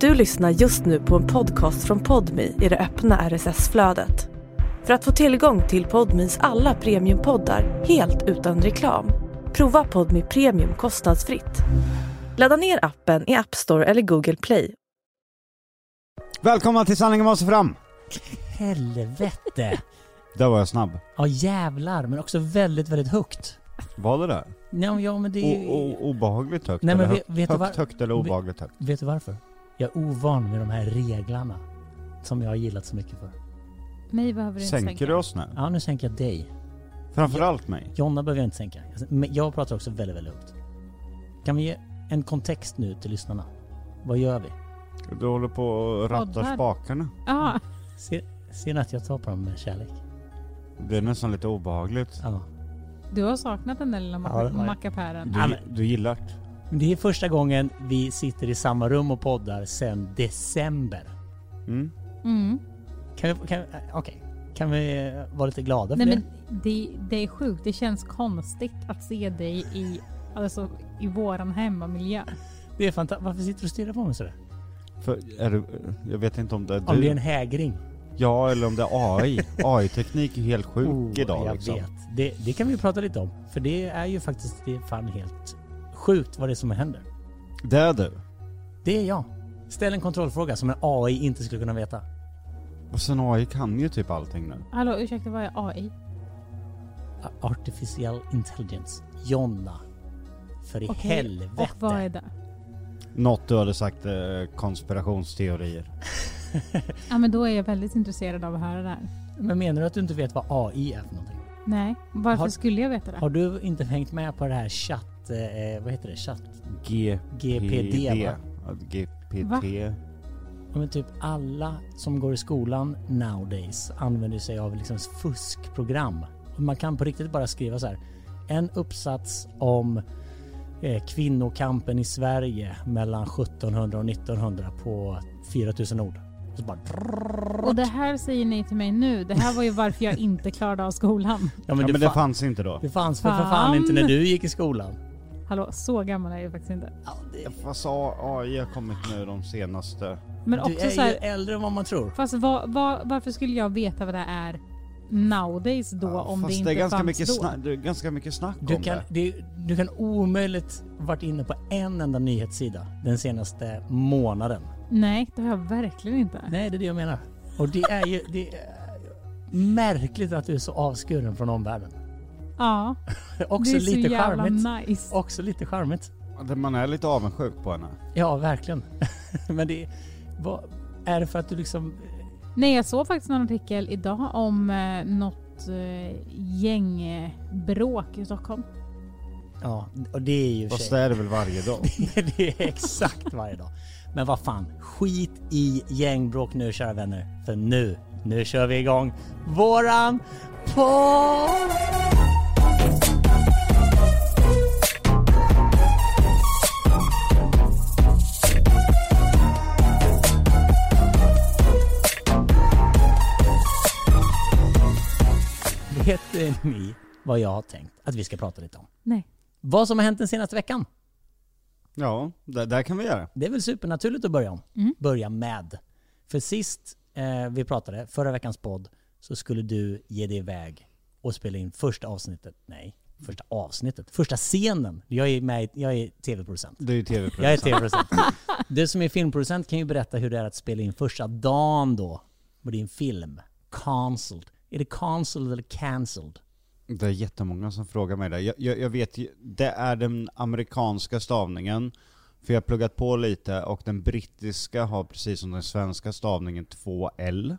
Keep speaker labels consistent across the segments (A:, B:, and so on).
A: Du lyssnar just nu på en podcast från Podmi i det öppna RSS-flödet. För att få tillgång till Podmis alla premiumpoddar helt utan reklam, prova Podmi Premium kostnadsfritt. Ladda ner appen i App Store eller Google Play.
B: Välkomna till Sanningen måste fram!
C: Helvete!
B: Där var jag snabb.
C: Ja jävlar, men också väldigt, väldigt högt.
B: Var det där?
C: Nej, men- ja, men det är ju...
B: O- o- obehagligt högt?
C: Nej, men
B: eller
C: vet-
B: högt,
C: vet du
B: högt,
C: var-
B: högt eller
C: vet-
B: obehagligt högt?
C: Vet du varför? Jag är ovan med de här reglarna. Som jag har gillat så mycket för.
D: Mig behöver du inte
B: Sänker
D: sänka.
B: du oss nu?
C: Ja, nu sänker jag dig.
B: Framförallt mig?
C: Jonna behöver jag inte sänka. Men jag pratar också väldigt, väldigt högt. Kan vi ge en kontext nu till lyssnarna? Vad gör vi?
B: Du håller på och rattar
D: Poddar.
B: spakarna.
D: Ja,
C: Ser, ser ni att jag tar på dem med kärlek?
B: Det är nästan lite obehagligt.
C: Ja.
D: du har saknat den där lilla ma-
C: Ja, den har jag.
D: mackapären.
B: Du, du gillar det?
C: Men det är första gången vi sitter i samma rum och poddar sedan december.
B: Mm.
D: Mm.
C: Kan vi... Kan, vi- Okej. Kan vi eh, vara lite glada för
D: Nej
C: det?
D: men det, det är sjukt, det känns konstigt att se dig i, alltså, i våran hemmamiljö.
C: Det är fantastiskt. Varför sitter du och stirrar på mig sådär?
B: För, är du, jag vet inte om det är du.
C: Om det är en hägring.
B: Ja, eller om det är AI. AI-teknik är helt sjuk idag
C: Oh, jag
B: liksom.
C: vet. Det, det kan vi prata lite om. För det är ju faktiskt, det är fan helt sjukt vad det är som händer.
B: Det är du.
C: Det är jag. Ställ en kontrollfråga som en AI inte skulle kunna veta.
B: Och sen AI kan ju typ allting nu.
D: Hallå ursäkta, vad är AI?
C: A- Artificiell intelligence. Jonna. För i
D: Okej,
C: helvete.
D: Och vad är det?
B: Något du hade sagt eh, konspirationsteorier.
D: Ja men då är jag väldigt intresserad av att höra det här.
C: Men menar du att du inte vet vad AI är för någonting?
D: Nej, varför
C: Har-
D: skulle jag veta det?
C: Har du inte hängt med på det här chatt... Eh, vad heter det? Chatt...
B: G-
C: GPD, va?
B: Ja, GPT.
D: Va?
C: Ja, Men typ alla som går i skolan nowadays använder sig av liksom fuskprogram. Och Man kan på riktigt bara skriva så här. En uppsats om eh, kvinnokampen i Sverige mellan 1700 och 1900 på 4000 ord. Och så bara,
D: Och det här säger ni till mig nu. Det här var ju varför jag inte klarade av skolan.
C: ja,
B: Men,
C: men
B: ja,
C: det,
B: men det
C: fa-
B: fanns inte då.
C: det fanns för, för fan
D: Fan.
C: inte när du gick i skolan.
D: Hallå, så gammal är jag faktiskt inte.
B: Fast A- AI har kommit nu de senaste...
D: Men
C: Du
D: också
C: är
D: så
C: ju
D: här,
C: äldre än vad man tror.
D: Fast vad- vad- varför skulle jag veta vad det är nowadays då
B: Ja,
D: om det
B: fast
D: inte
B: är ganska
D: fanns
B: mycket
D: då?
B: Snack, det är ganska mycket snack
C: Du
B: om
C: kan,
B: det.
C: du, du kan omöjligt varit inne på en enda nyhetssida den senaste månaden.
D: Nej, det har jag verkligen inte.
C: Nej, det är det jag menar. Och det är ju... Det är märkligt att du är så avskuren från omvärlden.
D: Ja,
C: Också
D: det är så
C: lite
D: jävla
C: charmigt.
D: nice.
C: Också lite charmigt.
B: Att Man är lite avundsjuk på henne.
C: Ja, verkligen. Men det... Vad, är det för att du liksom...
D: Nej, jag såg faktiskt en artikel idag om eh, något eh, gängbråk i Stockholm.
C: Ja, och det är ju
B: Fast
C: tjej.
B: det är det väl varje dag.
C: Det är exakt varje dag. Men vad fan, skit i gängbråk nu kära vänner. För nu, nu kör vi igång våran podd! Vet ni vad jag har tänkt att vi ska prata lite om?
D: Nej.
C: Vad som har hänt den senaste veckan?
B: Ja, det där kan vi göra.
C: Det är väl supernaturligt att börja om.
D: Mm.
C: Börja med. För sist eh, vi pratade, förra veckans podd, så skulle du ge dig iväg och spela in första avsnittet. Nej, första avsnittet. Första scenen. Jag är, med, i- jag är tv-producent.
B: Det är ju tv
C: Jag är tv-producent. Du som är filmproducent kan ju berätta hur det är att spela in första dagen då på din film. Cancelled. Är det cancelled eller cancelled?
B: Det är jättemånga som frågar mig det. Jag, jag, jag vet ju, det är den amerikanska stavningen. För jag har pluggat på lite och den brittiska har precis som den svenska stavningen två L.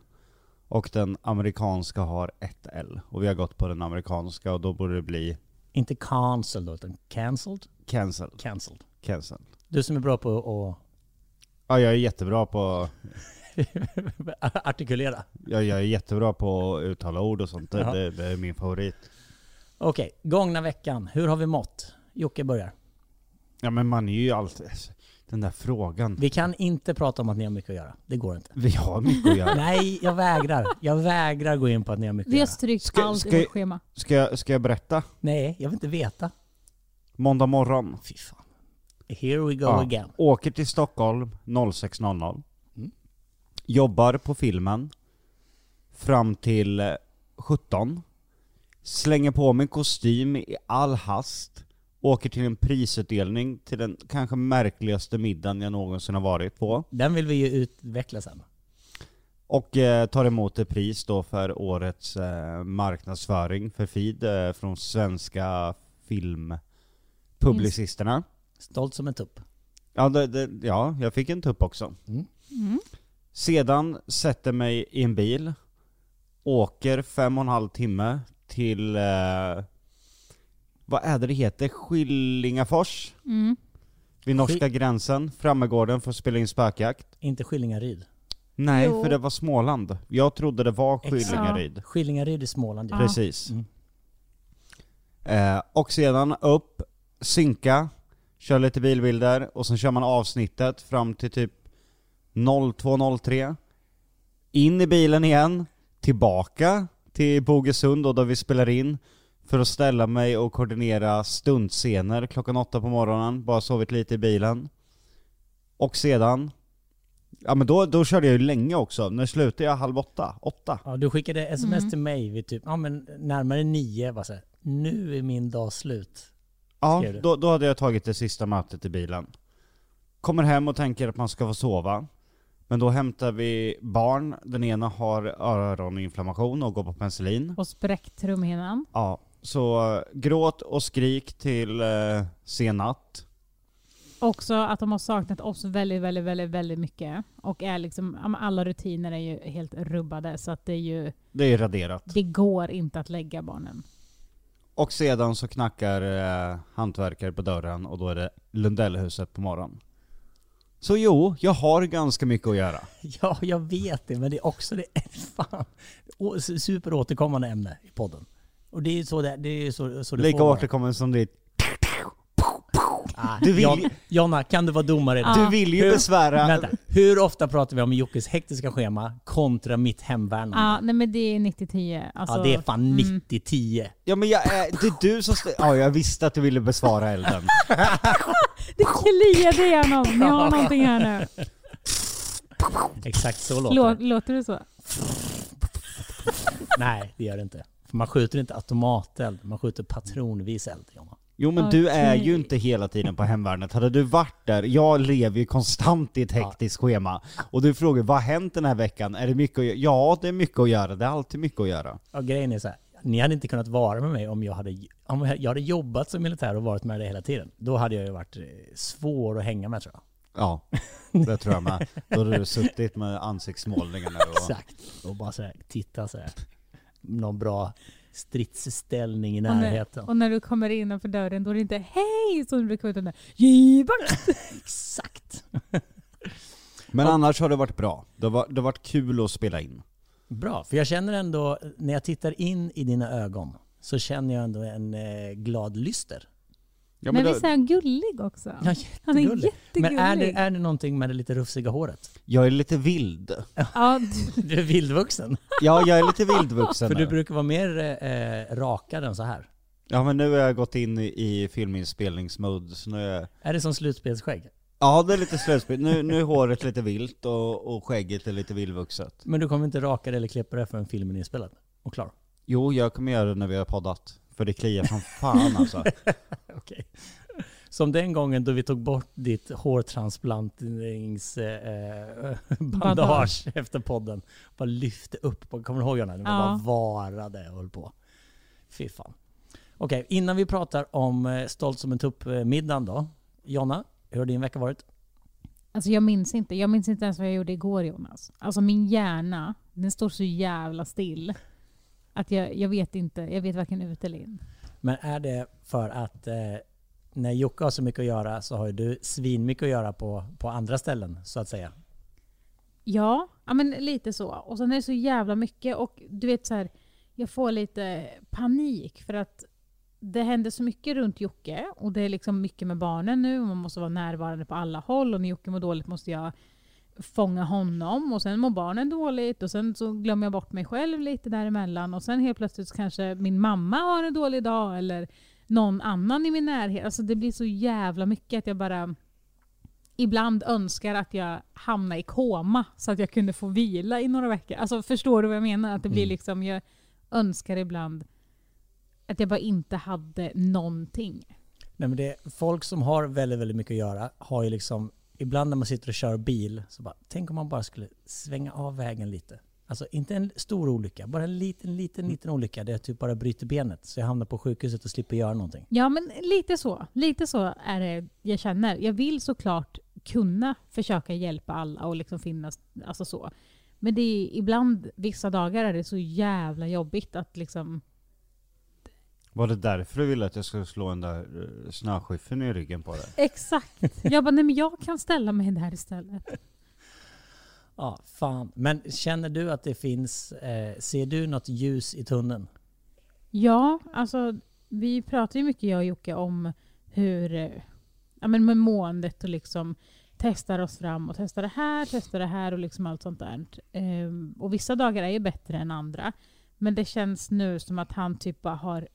B: Och den amerikanska har ett L. Och vi har gått på den amerikanska och då borde det bli
C: Inte cancelled då, utan cancelled?
B: cancel.
C: Cancelled.
B: cancel.
C: Du som är bra på
B: Ja, jag är jättebra på
C: att artikulera.
B: Jag, jag är jättebra på att uttala ord och sånt. Det,
C: Ja.
B: det, det är min favorit.
C: Okej, gångna veckan. Hur har vi mått? Jocke börjar.
B: Ja men man är ju alltid... Den där frågan.
C: Vi kan inte prata om att ni har mycket att göra. Det går inte.
B: Vi har mycket att göra.
C: Nej, jag vägrar. Jag vägrar gå in på att ni har mycket
D: Vi har
C: att göra.
D: strykt
B: Ska-
D: allt
B: ska-
D: i vårt schema.
B: Ska jag, ska jag berätta?
C: Nej, jag vill inte veta.
B: Måndag morgon.
C: Fy fan. Here we go
B: Ja.
C: again.
B: Åker till Stockholm 06.00.
C: Mm.
B: Jobbar på filmen fram till eh, 17. Slänger på mig kostym i all hast. Åker till en prisutdelning till den kanske märkligaste middagen jag någonsin har varit på.
C: Den vill vi ju utveckla sen.
B: Och eh, tar emot ett pris då för årets eh, marknadsföring för feed eh, från svenska filmpublicisterna.
C: Stolt som en tupp.
B: Ja, det, det, ja, jag fick en tupp också.
D: Mm.
B: Sedan sätter mig i en bil, åker fem och en halv timme till, eh, vad är det det heter, Skillingafors?
D: Mm.
B: Vid norska gränsen, Frammegården för att spela in spökjakt.
C: Inte Skillingaryd.
B: Nej,
D: Jo.
B: för det var Småland. Jag trodde det var
C: Exakt.
B: Skillingaryd.
C: Skillingaryd i Småland ju.
D: Ja.
B: Precis.
C: Mm.
B: Eh, och sedan upp, synka, kör lite bilbilder och sen kör man avsnittet fram till typ 02.03. In i bilen igen, tillbaka till Bogesund och där vi spelar in för att ställa mig och koordinera stuntscener klockan åtta på morgonen, bara sovit lite i bilen. Och sedan, ja men då, då körde jag ju länge också. När slutade jag? Halv åtta? Åtta?
C: Ja, du skickade sms
D: Mm.
C: till mig vid typ, ja men närmare nio. Bara så här, nu är min dag slut.
B: Ja,
C: skrev du.
B: då, då hade jag tagit det sista mötet i bilen. Kommer hem och tänker att man ska få sova. Men då hämtar vi barn, den ena har öroninflammation och går på penicillin.
D: Och spräckt trumhinnan.
B: Ja, så eh, gråt och skrik till eh, sen natt.
D: Också att de har saknat oss väldigt, väldigt, väldigt, väldigt mycket. Och är liksom, ja, men alla rutiner är ju helt rubbade så att det är ju,
B: Det är raderat.
D: det går inte att lägga barnen.
B: Och sedan så knackar eh, hantverkare på dörren och då är det Lundellhuset på morgonen. Så jo, jag har ganska mycket att göra.
C: Ja, jag vet det, men det är också det fan, å- su- superåterkommande ämne i podden. Och det är ju så det, det, är ju så, så det
B: Lika
C: får vara.
B: återkommande som ditt
C: Ah,
B: Du vill-
C: Jon- Jonna, kan du vara domare idag?
B: Du vill ju
C: Hur-
B: besvära...
C: Vänta, hur ofta pratar vi om Jockes hektiska schema kontra mitt hemvärnande?
D: Ja, nej men det är 90-10. Alltså,
C: Mm. ja, det är fan
D: mm.
C: 90-10.
B: Ja men jag, är- det är du som stä- Ja jag visste att du ville besvara elden.
D: Det kliade i honom. Ni har någonting här nu.
C: Exakt så låter
D: Lå,
C: det.
D: låter det så?
C: Nej, det gör det inte. För man skjuter inte automateld, man skjuter patronvis eld, Jonna.
B: Jo men du är
D: Okej.
B: ju inte hela tiden på hemvärnet. Hade du varit där, jag lever ju konstant i ett hektiskt schema. Och du frågar vad har hänt den här veckan? Är det mycket att göra? Ja det är mycket att göra, det är alltid mycket att göra.
C: Ja, grejen är så här. Ni hade inte kunnat vara med mig om jag hade, om jag hade jobbat som militär och varit med dig hela tiden. Då hade jag ju varit eh, svår att hänga med tror jag.
B: Ja, det tror jag med. Då hade du suttit med ansiktsmålningen där och...
C: Exakt. Och bara så här, titta så här. Någon bra stridsställning i
D: Och när-
C: närheten.
D: Och när du kommer innanför dörren då är det inte hej som du brukar utan det är
C: Exakt.
B: Men annars har det varit bra. Det har, det har varit kul att spela in.
C: Bra, för jag känner ändå, när jag tittar in i dina ögon så känner jag ändå en eh, glad lyster.
B: Ja,
D: Men
B: men
D: visst är
B: det,
D: han gullig också?
C: Ja,
D: Han är
C: jättegullig. Men är det,
D: jättegullig.
C: är det någonting med det lite rufsiga håret?
B: jag är lite vild.
D: Ja, du,
C: Du är vildvuxen.
B: Ja, jag är lite vildvuxen
C: För du
B: nu.
C: brukar vara mer eh, rakad än så här.
B: Ja men nu har jag gått in i, i filminspelningsmode så nu är jag...
C: Är det som slutspelsskägg?
B: Ja det är lite slöspel. Nu, nu är håret lite vilt och, och skägget är lite vildvuxet.
C: Men du kommer inte raka det eller klippa det förrän filmen är inspelad och klar?
B: Jo jag kommer göra det när vi har poddat. För det kliar som fan alltså.
C: Okej. Som den gången då vi tog bort ditt hårtransplantningsbandage efter podden. Bara lyfte upp, och- kommer du ihåg Jonna? Man
D: Ja.
C: bara varade och höll på. Fy fan. Okej, innan vi pratar om eh, Stolt som en tupp-middagen då. Jonna, hur har din vecka varit?
D: alltså jag minns inte. Jag minns inte ens vad jag gjorde igår Jonas. Alltså min hjärna, den står så jävla still. Att jag, jag vet inte. Jag vet varken ut eller in.
C: Men är det för att eh, när Jocke har så mycket att göra så har ju du svinmycket att göra på, på andra ställen så att säga.
D: Ja, ja men lite så. Och sen är det så jävla mycket och du vet så här, jag får lite panik för att det händer så mycket runt Jocke och det är liksom mycket med barnen nu och man måste vara närvarande på alla håll och när Jocke mår dåligt måste jag fånga honom och sen mår barnen dåligt och sen så glömmer jag bort mig själv lite däremellan och sen helt plötsligt så kanske min mamma har en dålig dag eller någon annan i min närhet. Alltså det blir så jävla mycket att jag bara ibland önskar att jag hamnar i koma så att jag kunde få vila i några veckor. Alltså förstår du vad jag menar? Att det blir
B: Mm.
D: liksom, jag önskar ibland att jag bara inte hade någonting.
C: Nej, men det, folk som har väldigt, väldigt mycket att göra har ju liksom, ibland när man sitter och kör bil, så bara, tänk om man bara skulle svänga av vägen lite. Alltså inte en stor olycka, bara en liten, liten, liten olycka där jag typ bara bryter benet så jag hamnar på sjukhuset och slipper göra någonting.
D: Ja men lite så. Lite så är det jag känner. Jag vill såklart kunna försöka hjälpa alla och liksom finnas, alltså så. Men det är ibland, vissa dagar är det så jävla jobbigt att liksom
B: Var det därför du ville att jag skulle slå den där eh, snöskyffeln i ryggen på dig?
D: Exakt. Jag bara, nej men jag kan ställa mig där istället.
C: Ja, fan. Men känner du att det finns, eh, ser du något ljus i tunneln?
D: Ja, alltså vi pratar ju mycket jag och Jocke om hur, eh, ja men med måendet och liksom testar oss fram och testar det här, testar det här och liksom allt sånt där. Ehm, och vissa dagar är ju bättre än andra. Men det känns nu som att han typ bara har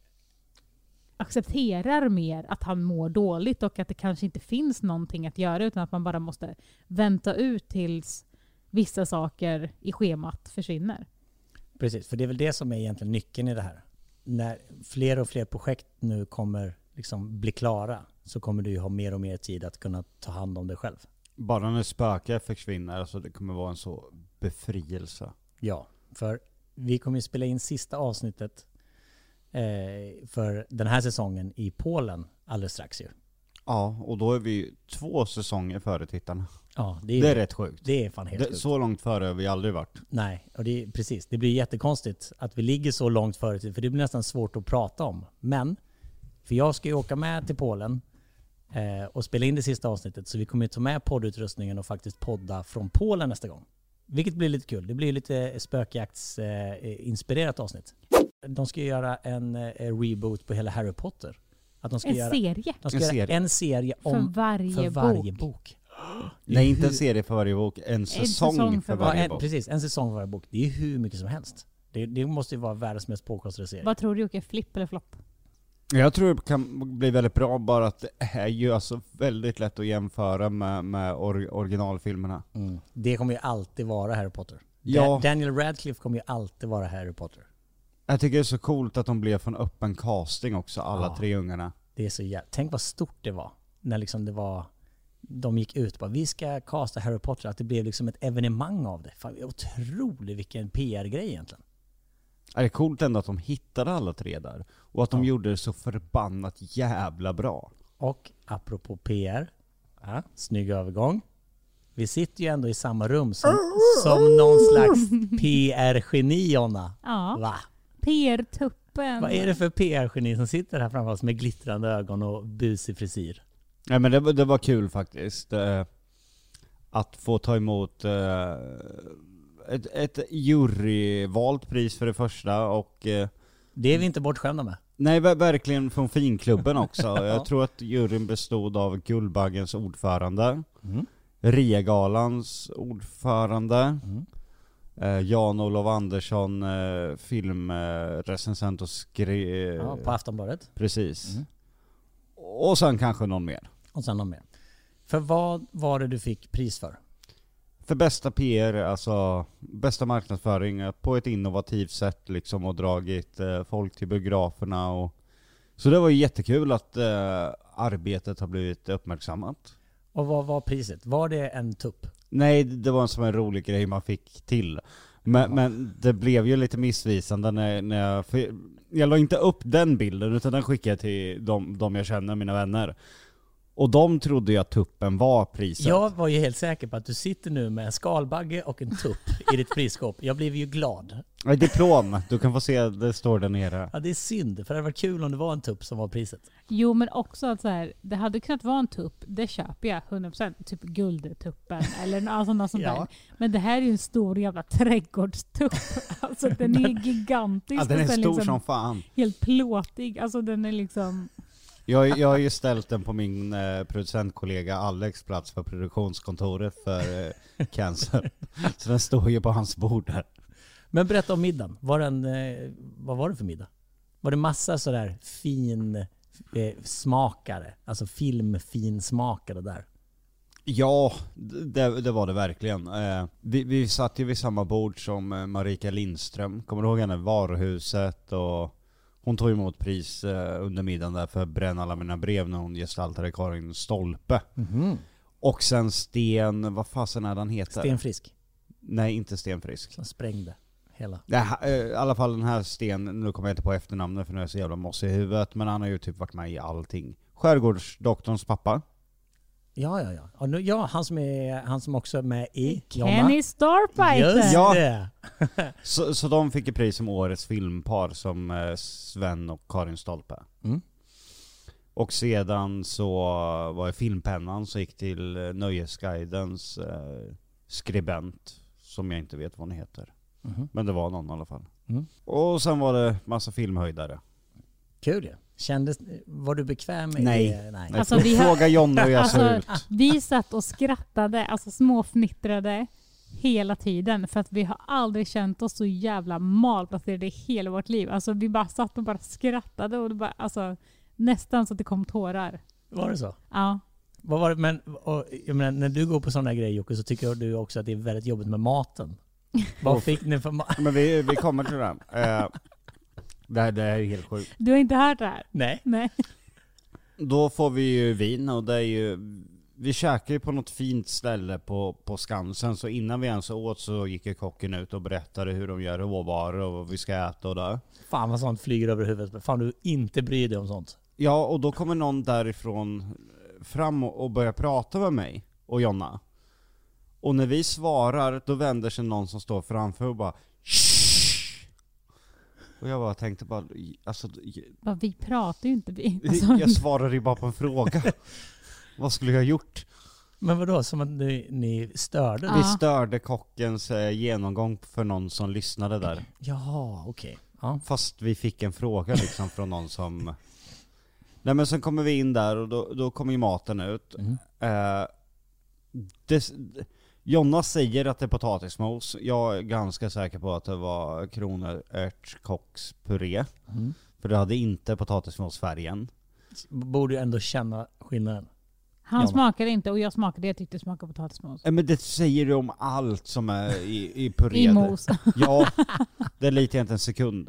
D: accepterar mer att han mår dåligt och att det kanske inte finns någonting att göra utan att man bara måste vänta ut tills vissa saker i schemat försvinner.
C: Precis, för det är väl det som är egentligen nyckeln i det här. När fler och fler projekt nu kommer liksom bli klara så kommer du ju ha mer och mer tid att kunna ta hand om dig själv.
B: Bara när spökar försvinner, alltså det kommer vara en så befrielse.
C: Ja, för vi kommer ju spela in sista avsnittet eh, för den här säsongen i Polen alldeles strax ju.
B: Ja, och då är vi ju två säsonger före tittarna.
C: Ja, det är,
B: Det är rätt sjukt.
C: det är fan helt
B: Det,
C: sjukt.
B: så långt före har vi aldrig varit.
C: Nej, och det är precis. Det blir jättekonstigt att vi ligger så långt före tid, för det blir nästan svårt att prata om. Men, för jag ska ju åka med till Polen eh, och spela in det sista avsnittet, så vi kommer ju ta med poddutrustningen och faktiskt podda från Polen nästa gång. Vilket blir lite kul. Det blir ju lite spökjaktsinspirerat eh, inspirerat avsnitt. De ska ju göra en eh, reboot på hela Harry Potter. Att de ska
D: En
C: göra,
D: serie.
C: de ska
B: En
C: göra
B: serie.
C: en serie
D: för
C: om,
D: varje,
C: för varje
D: bok.
C: bok.
B: Nej, inte en serie för varje bok. En säsong,
D: säsong
B: för
D: för
C: Ja,
B: varje
C: en,
B: bok.
C: precis. En säsong för varje bok. Det är ju hur mycket som helst. Det, det måste ju vara världens mest påkostade serie.
D: Vad tror du Jocke? Flipp eller flopp?
B: Jag tror det kan bli väldigt bra, bara att det är ju alltså väldigt lätt att jämföra med, med or, originalfilmerna.
C: Mm. Det kommer ju alltid vara Harry Potter.
B: Ja.
C: Da- Daniel Radcliffe kommer ju alltid vara Harry Potter.
B: Jag tycker det är så coolt att de blev från öppen casting också, alla
C: Ja.
B: tre ungarna.
C: Det är så jä- Tänk vad stort det var. När liksom det var... De gick ut och bara, vi ska casta Harry Potter. Att det blev liksom ett evenemang av det. Fan, otroligt vilken PR-grej egentligen.
B: Är det är coolt ändå att de hittade alla tre där? Och att de
C: Ja.
B: gjorde det så förbannat jävla bra.
C: Och apropå PR, ja, snygg övergång. Vi sitter ju ändå i samma rum som, som någon slags PR-geni, Jonna.
D: Ja.
C: Va?
D: PR-tuppen.
C: Vad är det för PR-geni som sitter här framför oss med glittrande ögon och busig frisyr?
B: Nej men det, var- det var kul faktiskt. eh, Att få ta emot eh, ett, ett juryvalt pris för det första och eh,
C: Det är vi inte bortskämda med.
B: Nej ver- verkligen från finklubben också. Jag tror att juryn bestod av Guldbaggens ordförande,
C: Mm.
B: Regalans ordförande,
C: Mm.
B: eh, Jan-Olof Andersson, eh, filmrecensent och skri... eh,
C: Ja, på Aftonbladet.
B: Precis.
C: Mm.
B: Och sen kanske någon mer.
C: Och sen någon mer. För vad var det du fick pris för?
B: För bästa PR, alltså bästa marknadsföring eh, på ett innovativt sätt liksom och dragit eh, folk till biograferna och så det var ju jättekul att eh, arbetet har blivit uppmärksammat.
C: Och vad var priset? Var det en tupp?
B: Nej, det var en som en rolig grej man fick till. Men,
C: Ja.
B: men det blev ju lite missvisande när, när jag... För jag la inte upp den bilden, utan den skickade jag till de, de jag känner, mina vänner. Och de trodde ju att tuppen var priset.
C: Jag var ju helt säker på att du sitter nu med en skalbagge och en tupp i ditt prisskåp. Jag blev ju glad.
B: Nej, Äh, Diplom, du kan få se, det står där nere.
C: Ja, det är synd, för det hade varit kul om det var en tupp som var priset.
D: Jo men också att så här, det hade kunnat vara en tupp, det köper jag 100%. Typ guldtuppen eller nå- alltså något sånt
C: Ja.
D: där. Men det här är ju en stor jävla trädgårdstupp. Alltså den är gigantisk.
B: Ja, den är
D: och sen
B: stor
D: liksom
B: som fan.
D: Helt plåtig. Alltså den är liksom...
B: Jag, jag har ju ställt den på min eh, producentkollega Alex plats på produktionskontoret för eh, cancer. Så den står ju på hans bord där.
C: Men berätta om middagen. Var den, eh, vad var det för middag? Var det massa sådär fin, eh, smakare. Alltså filmfinsmakare där.
B: Ja, det, det var det verkligen. Eh, vi, vi satt ju vid samma bord som eh, Marika Lindström. Kommer du ihåg henne? Varuhuset och hon tog emot pris eh, under middagen där för Bränn alla mina brev när hon gestaltade Karin Stolpe. Och sen Sten, vad fasen är han heter?
C: Sten Frisk.
B: Nej, inte Sten Frisk.
C: Som sprängde hela.
B: Det här, eh, I alla fall den här Sten, nu kommer jag inte på efternamnet för nu är jag så jävla mossig i huvudet, men han har ju typ varit med i allting. Skärgårdsdoktorns pappa.
C: Ja, ja, ja. Och nu, ja han, som är, han som också är med i
D: Kenny Starfighter!
C: Just
B: Ja.
C: det!
B: Så, så de fick ju pris som årets filmpar som eh, Sven och Karin Stolpe.
C: Mm.
B: Och sedan så var det Filmpennan som gick till eh, Nöjesguidens eh, skribent, som jag inte vet vad hon heter.
C: Mhm.
B: Men det var någon i alla fall.
C: Mm.
B: Och sen var det massa filmhöjdare.
C: Kul ju. Kändes, var du bekväm i
B: Nej.
C: det? Nej.
B: Nej,
D: Alltså,
B: fr-
D: vi har-
B: Fråga Jonny hur jag ser
D: Alltså,
B: ut.
D: vi satt och skrattade, alltså småfnittrade hela tiden för att vi har aldrig känt oss så jävla malplacerade i hela vårt liv. Alltså vi bara satt och bara skrattade och det bara, alltså, nästan så att det kom tårar.
C: Var det så?
D: Ja.
C: Vad var det, men, och, jag menar, när du går på sådana grejer Jocke så tycker du också att det är väldigt jobbigt med maten. Vad fick ni för mat?
B: Men vi, vi kommer till den. Eh, det, här, det här är helt sjukt.
D: Du har inte hört det här?
C: Nej.
D: Nej.
B: Då får vi ju vin och det är ju... Vi käkar ju på något fint ställe på, på Skansen, så innan vi ens åt så gick ju kocken ut och berättade hur de gör råvaror och vad vi ska äta och där.
C: Fan vad sånt flyger över huvudet. Men Fan du inte bryr dig om sånt.
B: Ja, och då kommer någon därifrån fram och och börjar prata med mig och Jonna. Och när vi svarar, då vänder sig någon som står framför och bara "Shh." Och jag bara tänkte bara, alltså
D: Bara, vi pratar ju inte vi. Alltså,
B: Jag svarade ju bara på en fråga. Vad skulle jag ha gjort?
C: Men vadå, som att ni, ni störde?
D: Ja.
C: dig?
B: Vi störde kockens eh, genomgång för någon som lyssnade där.
C: Jaha, okej. Ja.
B: Fast vi fick en fråga liksom från någon som... Nej men sen kommer vi in där och då, då kommer ju maten ut.
C: Mm.
B: Eh, det, Jonna säger att det är potatismos. Jag är ganska säker på att det var kronärtskockspuré.
C: Mm.
B: För det hade inte potatismosfärgen.
C: Borde ju ändå känna skillnaden.
D: han
C: Ja.
D: smakade inte och jag smakade. Jag tyckte det smakade potatismos.
B: Eh, Men det säger du om allt som är i, i puré.
D: I mos.
B: Ja, det litar jag inte en sekund.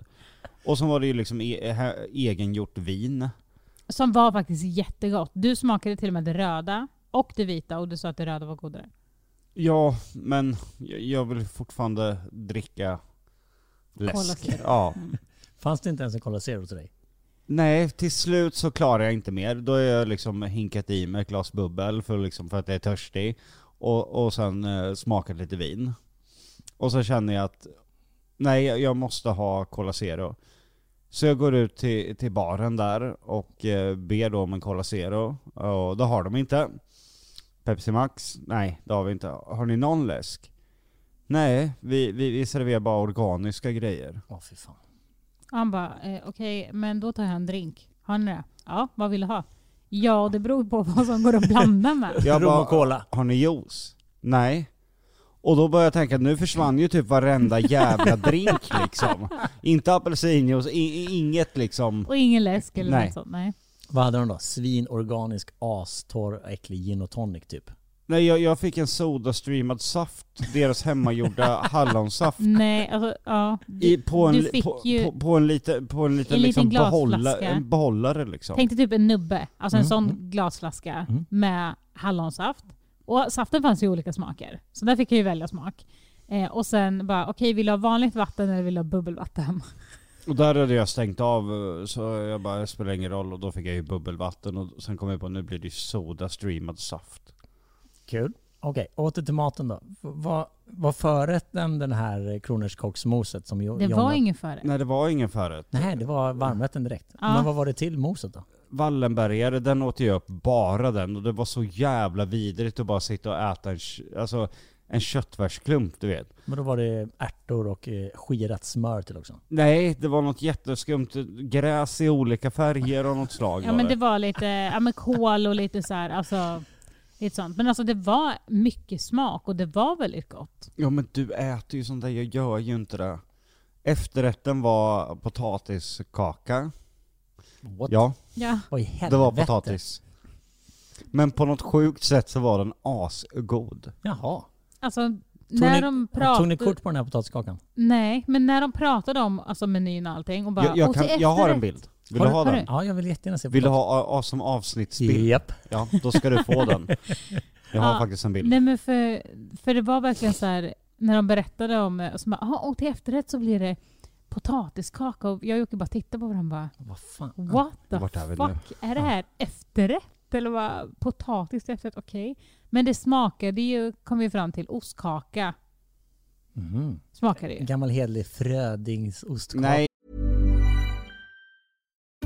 B: Och sen var det ju liksom e- he- egengjort vin.
D: Som var faktiskt jättegott. Du smakade till och med det röda och det vita och du sa att det röda var godare.
B: Ja, men jag- jag vill fortfarande dricka
D: Cola
B: läsk.
D: Zero.
B: Ja.
C: Fanns det inte ens en Cola Zero till dig?
B: Nej, till slut så klarar jag inte mer. Då har jag liksom hinkat i mig ett glas bubbel för, liksom, för att jag är törstig. Och, och sen eh, smakat lite vin. Och så känner jag att nej, jag jag måste ha Cola Zero. Så jag går ut till, till baren där och eh, ber då om en Cola Zero. Och det har de inte. Pepsi Max? Nej, det har vi inte. Har ni någon läsk? Nej, vi, vi, vi serverar bara organiska grejer.
C: Åh fy fan.
D: Och han bara, eh, okej, men då tar jag en drink. Har ni det? Ja, vad vill du ha? Ja, det beror på vad som går att blanda med.
B: Jag
C: Rom
B: bara-
C: och Cola.
B: har ni juice? Nej. Och då började jag tänka, nu försvann ju typ varenda jävla drink liksom. Inte apelsinjuice, i- i- inget liksom.
D: Och ingen läsk eller
B: Nej.
D: något sånt. Nej.
C: Vad hade de då? Svinorganisk, astorr, äcklig gin och tonic typ.
B: Nej jag, jag fick en sodastreamad saft, deras hemmagjorda hallonsaft.
D: Nej, alltså ja. Du,
B: I, på, en,
D: du
B: li-
D: fick
B: på,
D: ju-
B: på, på en liten, på en liten,
D: en liten
B: liksom
D: glasflaska.
B: behålla, en behållare liksom.
D: tänkte typ en nubbe. Alltså
B: Mm,
D: en sån glasflaska med hallonsaft. Och saften fanns ju i olika smaker. Så där fick jag ju välja smak. Eh, och sen bara, okej vill du ha vanligt vatten eller vill du ha bubbelvatten?
B: Och där hade jag stängt av eh, så jag bara, det spelar ingen roll. Och då fick jag ju bubbelvatten och sen kom jag på, nu blir det ju sodastreamad saft.
C: Kul. Okej, åter till maten då. V- Vad var förrätten den här kronärtskocksmoset som jo-
D: Det
C: Jonna-
D: var ingen förrätt.
B: Nej det var ingen förrätt.
C: Nej, det var varmrätten direkt.
D: Ja.
C: Men vad var det till moset då?
B: Wallenbergare, den åt jag upp bara den och det var så jävla vidrigt att bara sitta och äta en, kö- alltså, en köttfärsklump du vet.
C: Men då var det ärtor och eh, skirat smör till också.
B: Nej, det var något jätteskumt, gräs i olika färger av något slag
D: Ja men det var lite ja, men kol och lite så här, alltså lite sånt. Men alltså det var mycket smak och det var väldigt gott.
B: Ja men du äter ju sånt där, jag gör ju inte det. Efterrätten var potatiskaka.
C: What?
B: Ja,
D: Ja.
C: Vad i helvete?
B: det var potatis. Men på något sjukt sätt så var den asgod.
C: Jaha.
D: Alltså,
C: Tog
D: när
C: ni,
D: de
C: Tog ni
D: pratade...
C: kort på den här potatiskakan?
D: Nej, men när de pratade om alltså, menyn och allting och bara...
B: Jag, jag,
D: och
B: kan,
D: till
B: jag har en
D: efterrätt.
B: bild. Vill
D: Har
B: du
D: du-
B: ha
D: har
B: den?
C: Ja, jag vill jättegärna se
B: Vill du ha a, a, som avsnittsbild?
C: Japp.
B: Ja, då ska du få den. Jag har
D: Ja,
B: faktiskt en bild.
D: Nej men för, för det var verkligen så här när de berättade om och, så bara, "Aha, och till efterrätt så blir det potatiskaka och jag och Jocke bara tittade på varandra och bara
C: Vad fan?
D: What the
B: vart är vi
D: fuck? Är det här efterrätt? Eller vad? Potatis till efterrätt? Okej. Men det smakade ju, kom vi fram till, ostkaka.
C: Mhm.
D: Smakade ju.
C: Gammal hederlig Frödings ostkaka.
B: Nej,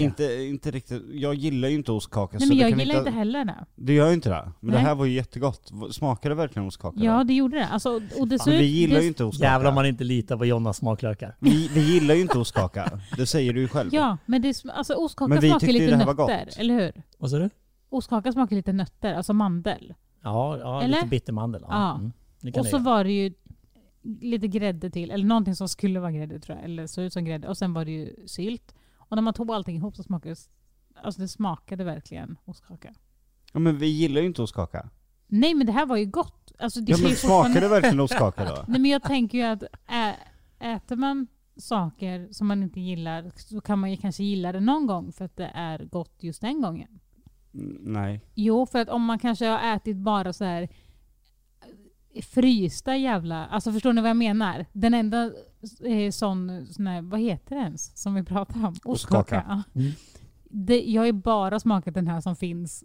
B: inte, inte riktigt. Jag gillar ju inte ostkaka.
D: Nej
B: så
D: men
B: det
D: jag
B: kan
D: gillar inte
B: inte
D: heller det.
B: Du gör ju inte det. Men
D: Nej.
B: det här var ju jättegott. V- Smakade det verkligen ostkaka?
D: Ja
B: då?
D: det gjorde det. Alltså, och det såg
B: Men vi
D: ut-
B: gillar
D: det,
B: ju inte ostkaka.
C: Jävlar om man inte litar på Jonas smaklökar.
B: vi, vi gillar ju inte ostkaka. Det säger du ju själv.
D: Ja men det, sm- alltså,
B: Men
D: ostkaka
B: vi
D: smakar
B: tyckte ju
D: lite
B: det här var
D: nötter,
B: gott.
D: eller hur?
C: Vad sa du?
D: Ostkaka smakar lite nötter, alltså mandel.
C: Ja, ja
D: Eller?
C: lite bittermandel.
D: Ja.
C: Det kan
D: Och
C: det
D: så
C: göra.
D: var det ju lite grädde till, eller någonting som skulle vara grädde tror jag, eller såg ut som grädde. Och sen var det ju sylt. Och när man tog allting ihop så smakade det, alltså det smakade verkligen ostkaka.
B: Ja, men vi gillar ju inte ostkaka.
D: Nej men det här var ju gott. Alltså, det
B: Ja,
D: är
B: men
D: ju fortfarande-
B: smakade det verkligen ostkaka då?
D: Nej men jag tänker ju att ä, äter man saker som man inte gillar så kan man ju kanske gilla det någon gång för att det är gott just den gången.
B: Mm, Nej.
D: Jo, för att om man kanske har ätit bara så här eh, frysta jävla... Alltså förstår ni vad jag menar? Den enda eh, sån, sån här, vad heter det ens som vi pratar om?
B: Ostkaka. Mm.
D: Ja. Det, jag har ju bara smakat den här som finns,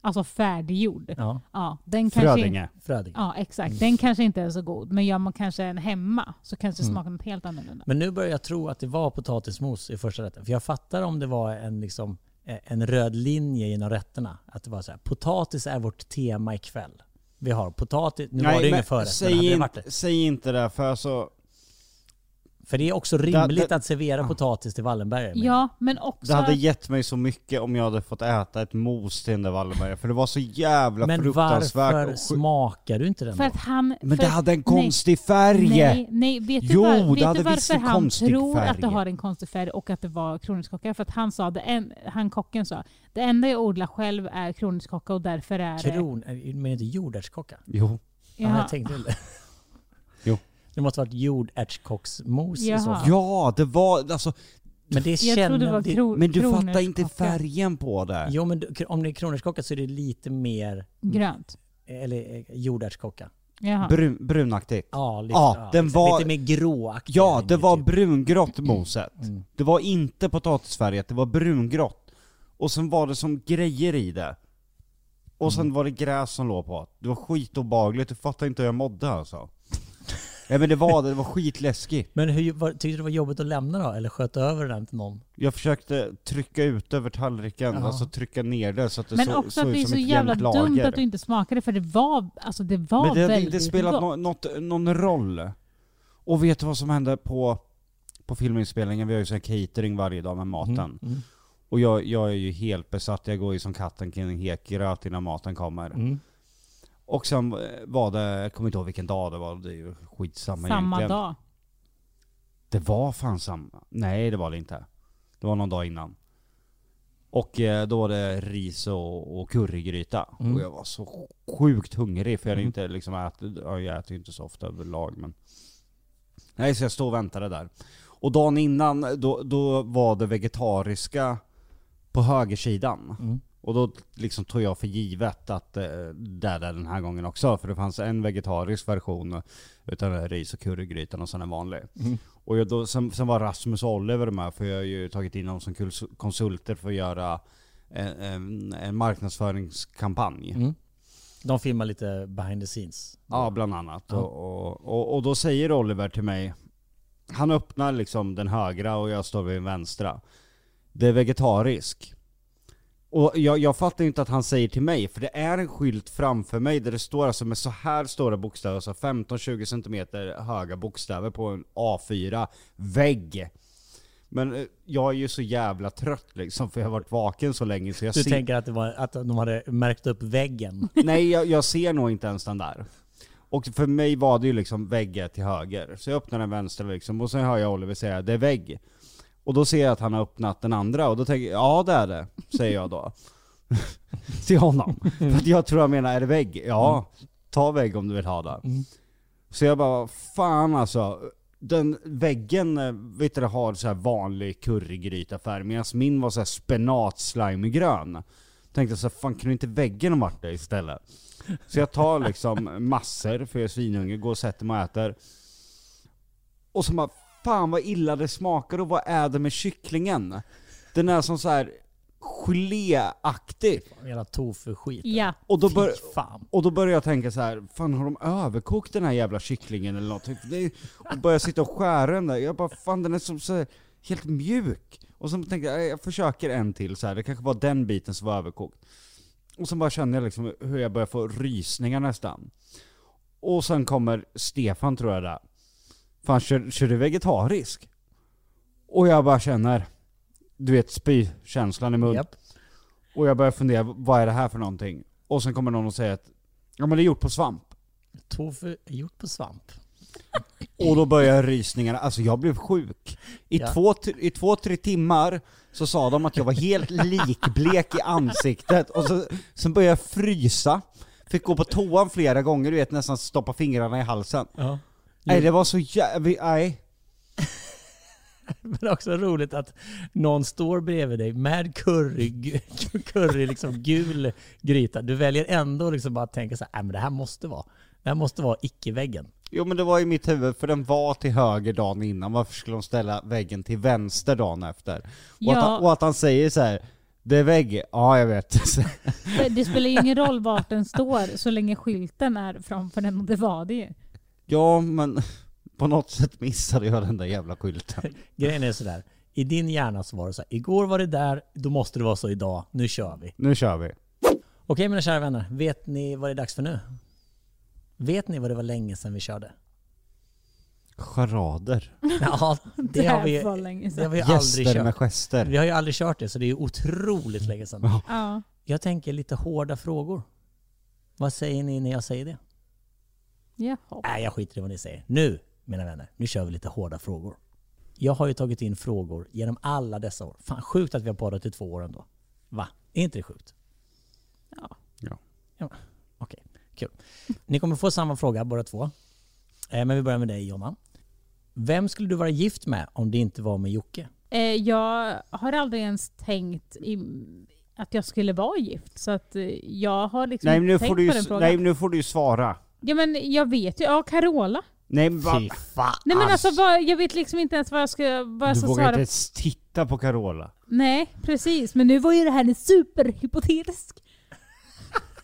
D: alltså färdiggjord.
C: Ja,
D: Ja, den kanske inte-
B: Frödinge. Mm.
C: Fröding.
D: Ja, exakt. Den kanske inte är så god, men gör man kanske en hemma så kanske det
B: Mm.
D: smakar något helt annorlunda.
C: Men nu börjar jag tro att det var potatismos i första rätten. För jag fattar om det var en, liksom, eh, en röd linje genom rätterna. Att det var så här, potatis är vårt tema ikväll. Vi har potatis, nu var det ju ingen förrätt, men hade
B: säg,
C: det
B: in,
C: varit det.
B: säg inte det för alltså,
C: För det är också rimligt
B: det-
C: att servera potatis till Wallenbergare. menar jag.
D: Ja, men också...
B: det hade gett mig så mycket om jag hade fått äta ett mos till den där Wallenberg. För det var så jävla
C: Men
B: fruktansvärt och
C: varför
B: sjukt.
C: smakar du inte den
D: för
C: då?
D: att han...
B: Men
D: för
B: det
D: att-
B: hade en
D: nej,
B: konstig färg!
D: Nej, nej, vet du,
B: Jo,
D: var,
B: det
D: vet
B: hade
D: du
B: visst
D: varför
B: en
D: han
B: konstig
D: tror
B: färg.
D: att det har en konstig färg och att det var kronärtskocka? För att han sa, det en, han kocken sa, det enda jag odlar själv är kronärtskocka och därför är det...
C: Kron... eh, Men inte jordärtskocka?
B: Jo.
C: Ja.
D: Jaha.
C: jag tänkte väl det.
B: Jo.
C: Det måste varit jordärtskocksmos i
D: Jaha.
C: så fall.
B: Ja, det var alltså,
C: Men det
D: jag
C: känner...
D: trodde det var
C: det-
D: kro,
B: men du fattar inte
D: kronärtskocka.
B: färgen på det.
C: Jo men du- om det är kronärtskocka så är det lite mer...
D: Grönt.
C: Eller eh, jordärtskocka.
D: Jaha.
B: Brun, brunaktigt.
C: Ja, lite,
B: Ja, den
C: liksom.
B: var-
C: lite mer gråaktig.
B: Ja, det
C: linje,
B: var
C: typ. Mm.
B: brungrått moset. Det var inte potatisfärgat, det var brungrått. Och sen var det som grejer i det. Och
C: Mm.
B: sen var det gräs som låg på. Det var skitobagligt, du fattar inte hur jag mådde alltså. Ja men det var det, det var skitläskigt.
C: Men hur, var, tyckte du det var jobbigt att lämna då? Eller sköt över den till någon?
B: Jag försökte trycka ut över tallriken,
C: Ja.
B: alltså trycka ner det så att det
D: Men
B: så,
D: också
B: såg
D: att det är
B: ut
D: så
B: som ett
D: jävla
B: jämnt
D: dumt
B: lager.
D: att du inte smakade för det var, alltså det var
B: Men det hade
D: väldigt
B: inte spelat
D: gott.
B: nå- något, någon roll. Och vet du vad som hände på, på filminspelningen? Vi har ju sån här catering varje dag med maten.
D: Mm,
B: Och jag, jag är ju helt besatt, jag går ju som katten kring het gröt innan maten kommer.
D: Mm.
B: Och sen eh, var det, jag kommer inte ihåg vilken dag det var, det är ju skitsamma
D: Samma
B: egentligen.
D: dag.
B: Det var fan samma. Nej det var det inte. Det var någon dag innan. Och eh, då var det ris och, och currygryta. Och jag var så sjukt hungrig för jag hade inte liksom ätit, ja, jag äter ju inte så ofta överlag men. Nej så jag stod och väntade där. Och dagen innan då, då var det vegetariska på högersidan. Och då liksom tog jag för givet att eh, det är det den här gången också. För det fanns en vegetarisk version utan den här ris och currygrytan och sen en vanlig. Och jag då, sen, sen var Rasmus och Oliver med, för jag har ju tagit in dem som kuls- konsulter för att göra en, en, en marknadsföringskampanj.
C: De filmar lite behind the scenes.
B: Ja, bland annat. Och, och, och, och då säger Oliver till mig Han öppnar liksom den högra och jag står vid den vänstra. Det är vegetarisk. Och jag, jag fattar ju inte att han säger till mig, för det är en skylt framför mig där det står alltså med så här stora bokstäver, alltså 15-20 cm höga bokstäver på en A4 vägg. Men eh, jag är ju så jävla trött liksom, för jag har varit vaken så länge så jag
C: Du
B: ser...
C: tänker att, det var, att de hade märkt upp väggen?
B: Nej, jag, jag ser nog inte ens den där. Och för mig var det ju liksom vägg till höger. Så jag öppnar den vänster liksom, och sen hör jag Oliver säga det är vägg. Och då ser jag att han har öppnat den andra, och då tänker jag ja det är det, säger jag då. till honom. För att jag tror han menar, är det vägg? Ja, ta vägg om du vill ha det. Så jag bara, fan alltså. Den väggen, eh, vet du, har så här vanlig currygrytafärg, medan min var så här spenat slimegrön. Tänkte så här, fan kunde inte väggen ha varit det istället? Så jag tar liksom massor, för jag är svinhungrig, går och sätter mig och äter. Och så bara, fan vad illa det smakar och vad är det med kycklingen? Den är som så här geléaktig.
C: Hela tofu-skit.
D: Ja.
B: Och då, bör,
C: Fy fan.
B: Liksom. och då börjar jag tänka så här, fan har de överkokt den här jävla kycklingen eller någonting? För Det är, och börjar sitta och skära den där, jag bara fan den är som så här, helt mjuk. Och så tänkte jag, "Nej, jag försöker en till så här. det kanske var den biten som var överkokt. Och sen bara känner jag liksom hur jag börjar få rysningar nästan. Och sen kommer Stefan tror jag där. Fan kör, kör du vegetarisk? Och jag bara känner, du vet spykänslan i munnen.
C: Japp.
B: Och jag börjar fundera, vad är det här för någonting? Och sen kommer någon och säger att, ja men det är gjort på svamp.
C: Tofu är gjort på svamp.
B: Och då börjar rysningarna, alltså jag blev sjuk. I,
C: Ja.
B: två, I två, tre timmar så sa de att jag var helt likblek i ansiktet, och så, sen började jag frysa. Fick gå på toan flera gånger, du vet nästan stoppa fingrarna i halsen.
C: Ja.
B: Nej det var så jävligt, nej.
C: Men också roligt att någon står bredvid dig med curry, curry liksom gul gryta. Du väljer ändå liksom bara att tänka så här, "Nej, men det här måste vara. Det här måste vara icke-väggen.
B: Jo men det var i mitt huvud, för den var till höger dagen innan, varför skulle de ställa väggen till vänster dagen efter? Och,
D: Ja.
B: att, han, och att han säger så här. det är vägg, ja jag vet.
D: För Det spelar ju ingen roll vart den står så länge skylten är framför den och det var det ju.
B: Ja, men på något sätt missade jag den där jävla skylten.
C: Grejen är sådär, i din hjärna så var det så här, igår var det där, då måste det vara så idag, nu kör vi.
B: Nu kör vi.
C: Okej mina kära vänner, vet ni vad det är dags för nu? Vet ni vad det var länge sedan vi körde?
B: Charader.
C: Ja, det har vi,
D: var länge sedan.
C: det har vi aldrig
B: Gäster med
C: kört. Vi
B: gester.
C: har ju aldrig kört det, så det är ju otroligt länge sedan.
D: Ja.
C: Jag tänker lite hårda frågor. Vad säger ni när jag säger det?
D: Jaha.
C: Nej, jag skiter i vad ni säger. Nu, mina vänner, nu kör vi lite hårda frågor. Jag har ju tagit in frågor genom alla dessa år. Fan, sjukt att vi har poddat i två år ändå. Va? Är inte det sjukt?
D: Ja.
B: Ja.
C: Ja, Okej, kul. Ni kommer få samma fråga båda två. Eh, Men vi börjar med dig Jonna. Vem skulle du vara gift med om det inte var med Jocke?
D: Eh, jag har aldrig ens tänkt i, att jag skulle vara gift. Så att eh, jag har liksom
B: Nej, men
D: inte
B: nu
D: tänkt
B: får du
D: på den
B: ju,
D: frågan.
B: nej, men nu får du ju svara.
D: Ja men jag vet ju. Ja, Carola.
B: Nej men vad?
C: fan!
D: Nej men alltså,
B: Ass.
D: vad, jag vet liksom inte ens vad jag ska, vad jag
B: Du
D: ska
B: vågar
D: Alltså, svara.
B: inte ens titta på Carola.
D: Nej precis. Men nu var ju det här en superhypotetisk.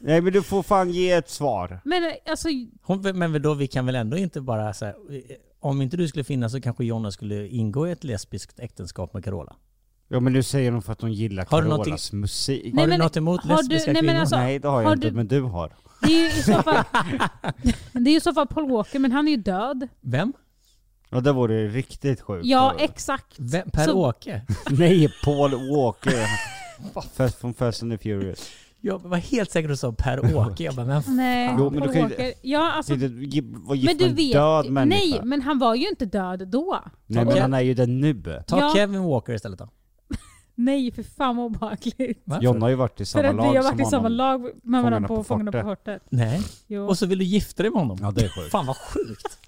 B: Nej men du får fan ge ett svar.
D: Men eh, alltså,
C: Hon, men då, vi kan väl ändå inte bara så här, eh, Om inte du skulle finnas så kanske Jonna skulle ingå i ett lesbiskt äktenskap med Carola.
B: Ja men nu säger hon för att hon gillar
C: Har du
B: Carolas
C: någonting-
B: musik.
C: Har
D: Nej,
C: du
D: men-
C: något emot
D: har du-
C: lesbiska
D: nej, men
C: kvinnor?
D: alltså-
B: nej det har jag
D: har
B: inte,
D: du-
B: men du har.
D: det är ju i så fall, det är ju i så fall Paul Walker men han är ju död.
C: Vem?
B: Ja det vore ju riktigt sjukt.
D: Ja
B: Då.
D: exakt.
C: Vem? Per-Åke?
B: Nej, Paul Walker. Fast från Fast and the Furious.
C: Jag var helt säker på att du sa Per-Åke. Jag bara, men fan.
D: Nej,
B: Jo, men du
D: eh, Paul
B: kan ju-
D: Walker. Ja alltså,
B: Inte ge- Vara
D: men
B: gift
D: du
B: med en
D: vet.
B: död människa.
D: nej men han var ju inte död då.
B: nej men
C: Okej.
B: han är ju det nu.
C: Ta
D: Ja.
C: Kevin Walker istället då.
D: Nej för fan vad obehagligt.
C: Varför?
B: Jonna har ju varit i
D: För
B: samma
D: att
B: lag
D: vi har
B: som
D: varit i samma
B: honom.
D: lag med
B: Fångarna
D: varandra på
B: på
D: Fångarna på
B: fortet.
D: fortet.
C: Nej.
D: Jo.
C: Och så vill du gifta dig med honom?
B: Ja det är sjukt.
C: Fan vad sjukt.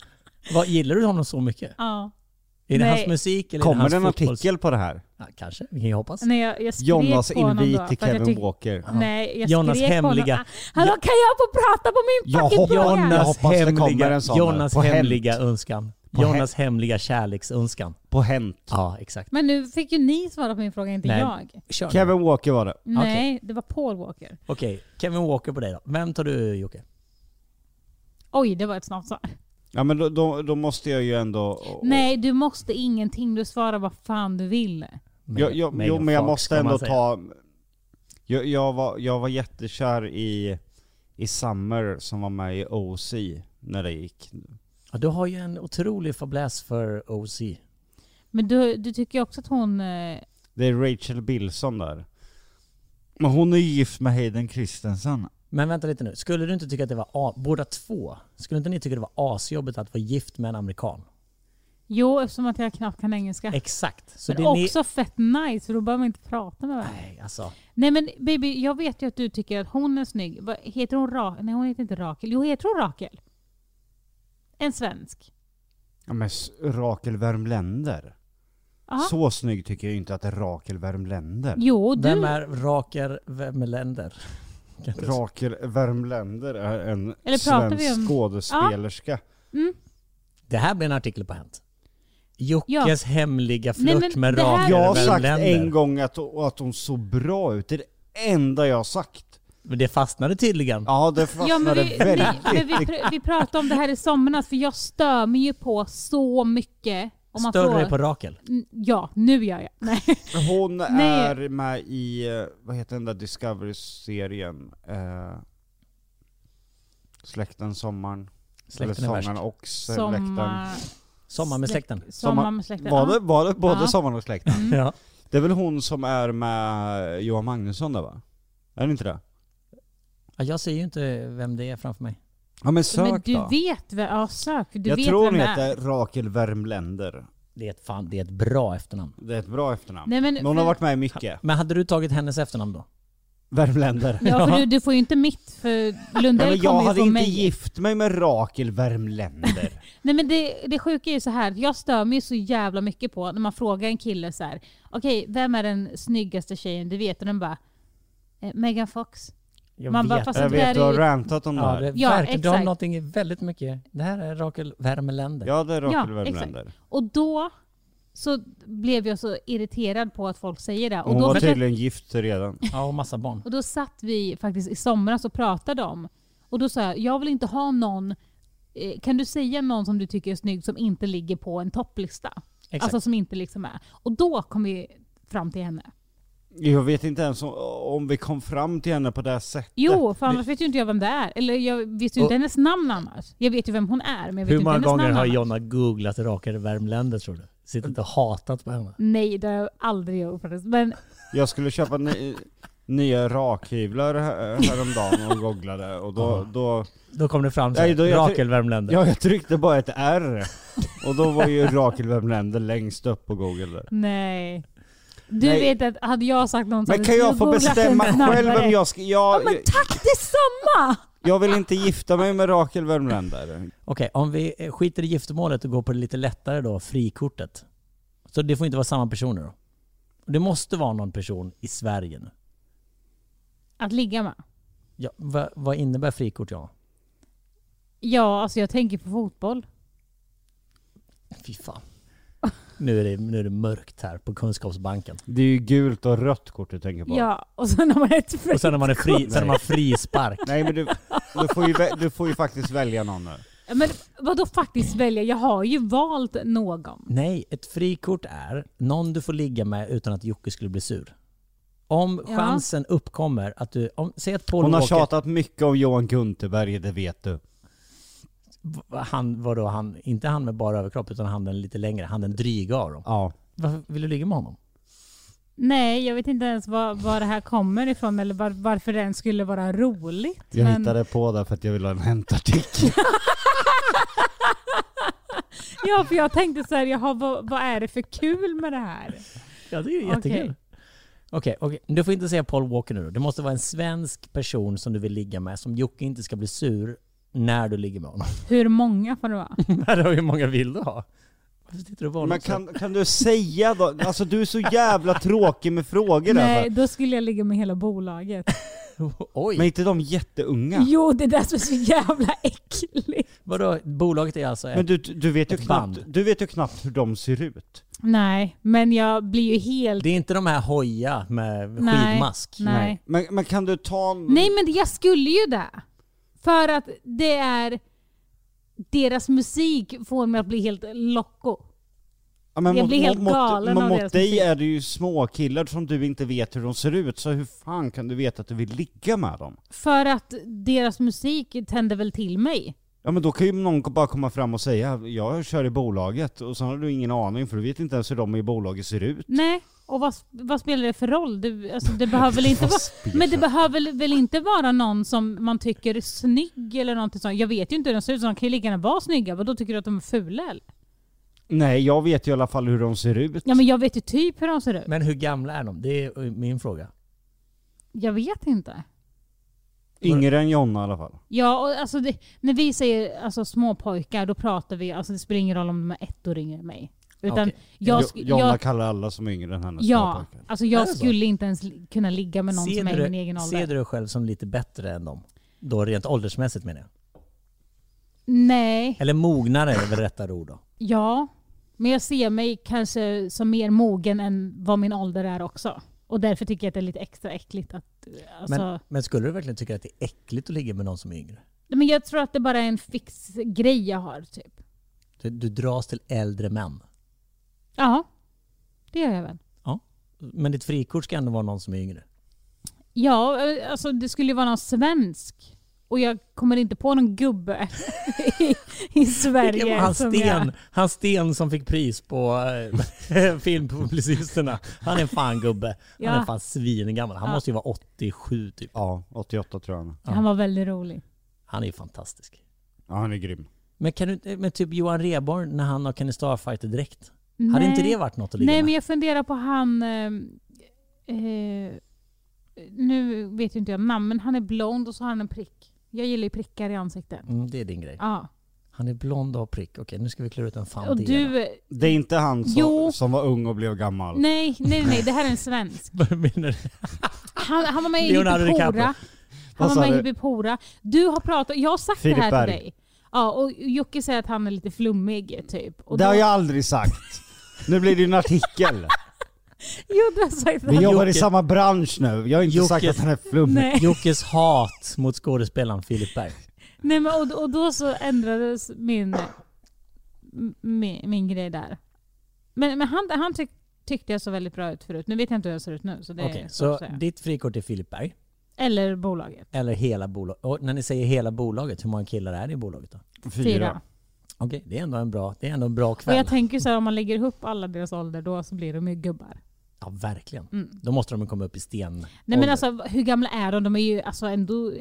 C: Vad, gillar du honom så mycket?
D: Ja.
C: Är det
D: Nej.
C: hans musik eller är
B: Kommer
C: det hans
B: det en
C: fotbolls-
B: artikel på det här?
C: Ja, kanske. Vi kan ju hoppas.
D: Nej, jag, jag skrek
B: Jonas
D: på honom
B: invit
D: då,
B: till
D: för att jag
B: Kevin
D: tyck-
B: Walker.
D: Nej, jag
C: Jonas
D: skrek på
C: hemliga-
D: honom. Ah, Hallå, kan jag få prata på min
B: Jag
D: fucking
B: hoppas-
D: fråga?
B: Jag
C: Jonas
B: hoppas det kommer
C: hemliga,
B: en sån
C: Jonas
B: på Hänt.
C: hemliga önskan.
B: På
C: Jonas hemliga kärleksönskan.
B: På Hänt.
C: Ja, exakt.
D: Men nu fick ju ni svara på min fråga, inte
C: Nej.
D: jag.
C: Kör nu.
B: Kevin Walker var det.
D: Nej, det var Paul Walker.
C: Okej, Kevin Walker på dig då. Vem tar du Jocke?
D: Oj, det var ett snabbt svar.
B: Ja men då, då, då måste jag ju ändå...
D: Nej, du måste ingenting. Du svarar vad fan du vill.
B: Jag, jag, jo men jag måste ändå ta... Jag, jag, var, jag var jättekär i, i Summer som var med i OC när det gick.
C: Ja, du har ju en otrolig fäbless för OC.
D: Men du, du tycker ju också att hon... eh,
B: Det är Rachel Bilson där. Men hon är ju gift med Hayden Christensen.
C: Men vänta lite nu, skulle du inte tycka att det var, a- båda två, skulle inte ni tycka det var asjobbigt att vara gift med en amerikan?
D: Jo, eftersom att jag knappt kan engelska.
C: Exakt. Så
D: men
C: det är
D: också fett nice, för då behöver man inte prata med varandra.
C: ni... Nej, alltså.
D: Nej men baby, jag vet ju att du tycker att hon är snygg. Vad- Heter hon Rakel? Nej hon heter inte Rakel. Jo, heter hon Rakel? En svensk.
B: Ja, men s- Rakel Värmländer.
D: Ja.
B: Så snygg tycker jag inte att det är Rakel Värmländer.
D: Jo, du.
C: Vem är Raker Vemmeländer?
B: Rakel Värmländer är en
D: Eller pratar vi
B: svensk
D: om-
B: skådespelerska.
C: Det här blir en artikel på Hänt. Jockes
D: Ja.
C: hemliga
D: Nej, men
C: flört med
D: det här-
C: Raker
B: Jag har sagt
C: Vemmeländer.
B: en gång att, att hon såg bra ut. Det är det enda jag har sagt.
C: Men det fastnade tydligen.
B: Ja, det
D: Ja, men
B: fastnade
D: vi, vi,
B: väldigt.
D: men vi, pr- vi pratade om det här i somras, för jag stör mig ju på så mycket. Om man
C: Större
D: får... Mm.
C: på Rakel.
D: N- Ja, nu gör jag. Nej.
B: Hon
D: Nej.
B: är med i, eh, vad heter den där Discovery-serien? Eh, släkten, sommaren. Eller
C: Släkten är värst.
B: sommaren och släkten.
D: Sommar...
C: Sommar med släkten.
D: Sommar med släkten.
B: Var det,
D: Ja.
B: var det både
D: Ja. Mm.
B: sommaren och släkten?
C: Ja.
B: Det är väl hon som är med Johan Magnusson där va? Är det inte det?
C: Ja, Jag ser ju inte vem det är framför mig.
B: Ja men sök
D: Men du
B: då.
D: vet vem... Ja, sök. Du
B: jag
D: vet
B: tror
D: vem
B: hon
D: det är.
B: heter Rakel Värmländer.
C: Det är ett, fan, det är ett bra efternamn.
B: Det är ett bra efternamn.
D: Nej, men-
B: men hon har varit med i mycket.
C: Men hade du tagit hennes efternamn då?
B: Värmländer.
D: Ja, för du, du får ju inte mitt, för
B: Nej,
D: Lundell
B: men jag
D: kommer ju
B: hade
D: från
B: inte
D: mig.
B: gift mig med Rakel Värmländer.
D: Nej men det, det sjuka är ju så här, jag stör mig ju så jävla mycket på när man frågar en kille så här. okej vem är den snyggaste tjejen du vet? Och den bara, eh, Megan Fox.
C: Jag
D: Man bara,
C: vet.
D: fast-
B: jag
D: det här
B: vet, du har
D: är ju-
B: rantat om det
C: Ja,
B: här.
C: det
D: Ja,
C: verkar, du har
D: exakt.
C: någonting väldigt mycket. Det här är Rakel Värmeländer.
B: Ja det är Rakel
D: Ja,
B: Värmländer.
D: Och då så blev jag så irriterad på att folk säger det. Och
B: Hon
D: då,
B: var
D: försökte-
B: tydligen gift redan.
C: Ja, och massa barn.
D: och då satt vi faktiskt i somras och pratade om, och då sa jag, jag vill inte ha någon, eh, kan du säga någon som du tycker är snygg som inte ligger på en topplista?
C: Exakt.
D: Alltså som inte liksom är. Och då kom vi fram till henne.
B: Jag vet inte ens om, om vi kom fram till henne på det här sättet.
D: Jo, för annars vet ju inte jag vem det är. Eller jag visste ju inte
B: Och-
D: hennes namn annars. Jag vet ju vem hon är, men jag vet
C: Hur
D: inte
C: många
D: hennes
C: gånger
D: namn
C: har
D: annars.
C: Jonna googlat Rakel Värmländer tror du? Sitter inte och hatat på henne.
D: Nej, det har jag aldrig gjort faktiskt. Men
B: Jag skulle köpa ny, nya rakhyvlar här- häromdagen och googlade och då, då
C: Då kom det fram så
B: Nej, då-
C: här,
B: jag-
C: Rakel Värmländer.
B: Ja, jag tryckte bara ett R. Och då var ju Rakel Värmländer längst upp på google där.
D: nej. Du
B: Nej.
D: vet att hade jag sagt någon som
B: Men kan jag få bestämma själv vem jag ska...
D: Ja,
B: Jag,
D: men tack detsamma!
B: jag vill inte gifta mig med Rakel Värmländer.
C: Okej, om vi eh, skiter i giftermålet och går på det lite lättare då, frikortet. Så det får inte vara samma personer då? Det måste vara någon person i Sverige nu.
D: Att ligga med.
C: Ja, vad, vad innebär frikort ja?
D: Ja, alltså jag tänker på fotboll.
C: Fy fan. Nu är, det, nu är det mörkt här på Kunskapsbanken.
B: Det är ju gult och rött kort du tänker på.
D: Ja, och sen har man ett
C: Och sen har man, en fri, sen har man frispark.
B: Nej men du, du, får ju, vä- du får ju faktiskt välja någon nu.
D: Men vadå faktiskt välja? Jag har ju valt någon.
C: Nej, ett frikort är någon du får ligga med utan att Jocke skulle bli sur. Om
D: Ja.
C: chansen uppkommer att du... Om, säg att Paul
B: Hon har
C: Walker-
B: tjatat mycket om Johan Gunterberg, det vet du.
C: v- Han, vadå, han, inte han med bara överkropp utan han den lite längre, han den dryga av dem.
B: Ja.
C: Varför vill du ligga med honom?
D: Nej, jag vet inte ens var, var det här kommer ifrån eller var, varför den skulle vara roligt.
B: Jag
D: men
B: hittade på det för att jag ville ha en hämtartikel.
D: Ja, för jag tänkte så här, jaha, vad, vad är det för kul med det här?
C: Ja, det är ju
D: jättekul.
C: jättekul. Okej, okej. Du får inte säga Paul Walker nu då. Det måste vara en svensk person som du vill ligga med, som Jocke inte ska bli sur när du ligger med honom.
D: Hur många får det vara?
C: Här har ju många vill du ha. Varför tittar du på honom
B: Men
C: så?
B: kan, kan du säga då? Alltså du är så jävla tråkig med frågor
D: Nej,
B: där.
D: då skulle jag ligga med hela bolaget.
C: Oj!
B: Men inte de jätteunga?
D: Jo, det är det som är så jävla äckligt.
C: Vadå? Bolaget är alltså...
B: Men du, du, vet ju
C: Ett band.
B: knappt, du vet ju knappt hur de ser ut.
D: Nej, men jag blir ju helt...
C: Det är inte de här hoja med
D: Nej.
C: skidmask.
D: Nej.
B: Men, men kan du ta en...
D: Nej, men jag skulle ju det. För att det är... deras musik får mig att bli helt loco.
B: Ja, men
D: Jag
B: mot-
D: blir helt
B: mot- mot-
D: galen
B: men
D: av
B: Mot
D: deras
B: dig
D: musik.
B: är det ju små killar som du inte vet hur de ser ut, så hur fan kan du veta att du vill ligga med dem?
D: För att deras musik tänder väl till mig.
B: Ja men då kan ju någon bara komma fram och säga jag kör i bolaget och sen har du ingen aning för du vet inte ens hur de i bolaget ser ut.
D: Nej, och vad, vad spelar det för roll? Du, alltså, det behöver väl inte
B: Vad
D: vara,
B: spelar-
D: men det behöver väl inte vara någon som man tycker är snygg eller någonting sånt. Jag vet ju inte hur de ser ut, så de kan ju lika gärna vara snygga. Vadå, tycker du att de är fula eller?
B: Nej jag vet ju i alla fall hur de ser ut.
D: Ja men jag vet ju typ hur de ser ut.
C: Men hur gamla är de? Det är eh, min fråga.
D: Jag vet inte.
B: Yngre än Jonna i alla fall.
D: Ja, och alltså det, när vi säger alltså, små pojkar då pratar vi, alltså det spelar ingen roll om de är ett år yngre än mig. Utan
C: Okej.
D: jag,
B: Jo-
D: sk-
B: Jonna
D: jag,
B: kallar alla som är yngre än henne
D: ja,
B: småpojkar.
D: alltså
C: Är
D: jag
C: det så?
D: skulle inte ens li- kunna ligga med någon
C: Ser
D: som är
C: du-
D: i min egen ålder.
C: Ser du dig själv som lite bättre än dem? Då rent åldersmässigt menar jag.
D: Nej,
C: Eller mognare är väl rättare ord då?
D: Alltså- ja. Men jag ser mig kanske som mer mogen än vad min ålder är också. Och därför tycker jag att det är lite extra äckligt att... Alltså,
C: Men,
D: men,
C: men skulle du verkligen tycka att det är äckligt att ligga med någon som är yngre?
D: men jag tror att det bara är en fix grej jag har typ.
C: Du, du dras till äldre män.
D: Ja, det gör jag väl.
C: Ja. Men ditt frikort ska ändå vara någon som är yngre.
D: Ja, eh, alltså det skulle ju vara någon svensk. Och jag kommer inte på någon gubbe i, i
C: Det var
D: Sverige.
C: han,
D: som
C: sten,
D: jag-
C: han Sten som fick pris på eh, filmpublicisterna. Han är en fan gubbe. Han är
D: Ja.
C: fan svingammal. Han
D: Ja.
C: måste ju vara 87 typ.
B: Ja, 88 tror jag han är.
D: Han var väldigt rolig.
C: Han är ju fantastisk.
B: Ja han är grym.
C: Men kan du inte- men typ Johan Rheborn när han har Kenny Starfighter direkt. Hade inte det varit något att ligga
D: Nej, men
C: med?
D: jag funderar på han... Eh, eh, nu vet ju inte jag namn, men han är blond och så har han en prick. Jag gillar ju prickar i ansiktet.
C: Mm, det är din grej.
D: Ja.
C: Han är blond och har prick. Okej, nu ska vi klura ut en fan
D: Och
C: det är.
D: du... eh,
B: Det är inte han som,
D: Mm. Jo.
B: som var ung och blev gammal.
D: Nej, nej, nej, det här är en svensk.
C: Vad menar du?
D: Han, han var med i
C: Leonardo
D: Hippie
C: DiCaprio.
D: Pora.
B: Vad
D: Han
B: sa
D: var med i
B: du?
D: Hippie Pora. Du har pratat, jag har sagt
B: Filip
D: det här till
B: Berg.
D: dig. Ja, och Jocke säger att han är lite flummig typ. Och
B: Det
D: då-
B: har jag aldrig sagt. Nu blir det ju en artikel.
D: Jo, du har sagt det.
B: Vi jobbar i
C: Jocke.
B: samma bransch nu. Jag har inte
C: Jocke.
B: sagt att han är flummig.
D: Nej,
C: Jockes hat mot skådespelaren Filip Berg.
D: nej men, och, och då så ändrades min, min, min grej där. Men, men han, han tyck, tyckte jag såg väldigt bra ut förut. Nu vet jag inte hur jag ser ut nu. Så det
C: Okej,
D: är svårt
C: så
D: att säga.
C: ditt frikort är Filip Berg.
D: Eller bolaget.
C: Eller hela bolaget. Och när ni säger hela bolaget, hur många killar är det i bolaget då?
D: Fyra.
C: Okej, det är ändå en bra, det är ändå en bra
D: Och
C: kväll.
D: jag tänker så här, om man lägger ihop alla deras ålder då så blir de ju gubbar.
C: ja, verkligen. Då måste de ju komma upp i sten.
D: Mm. Nej men alltså hur gamla är de? De är ju alltså ändå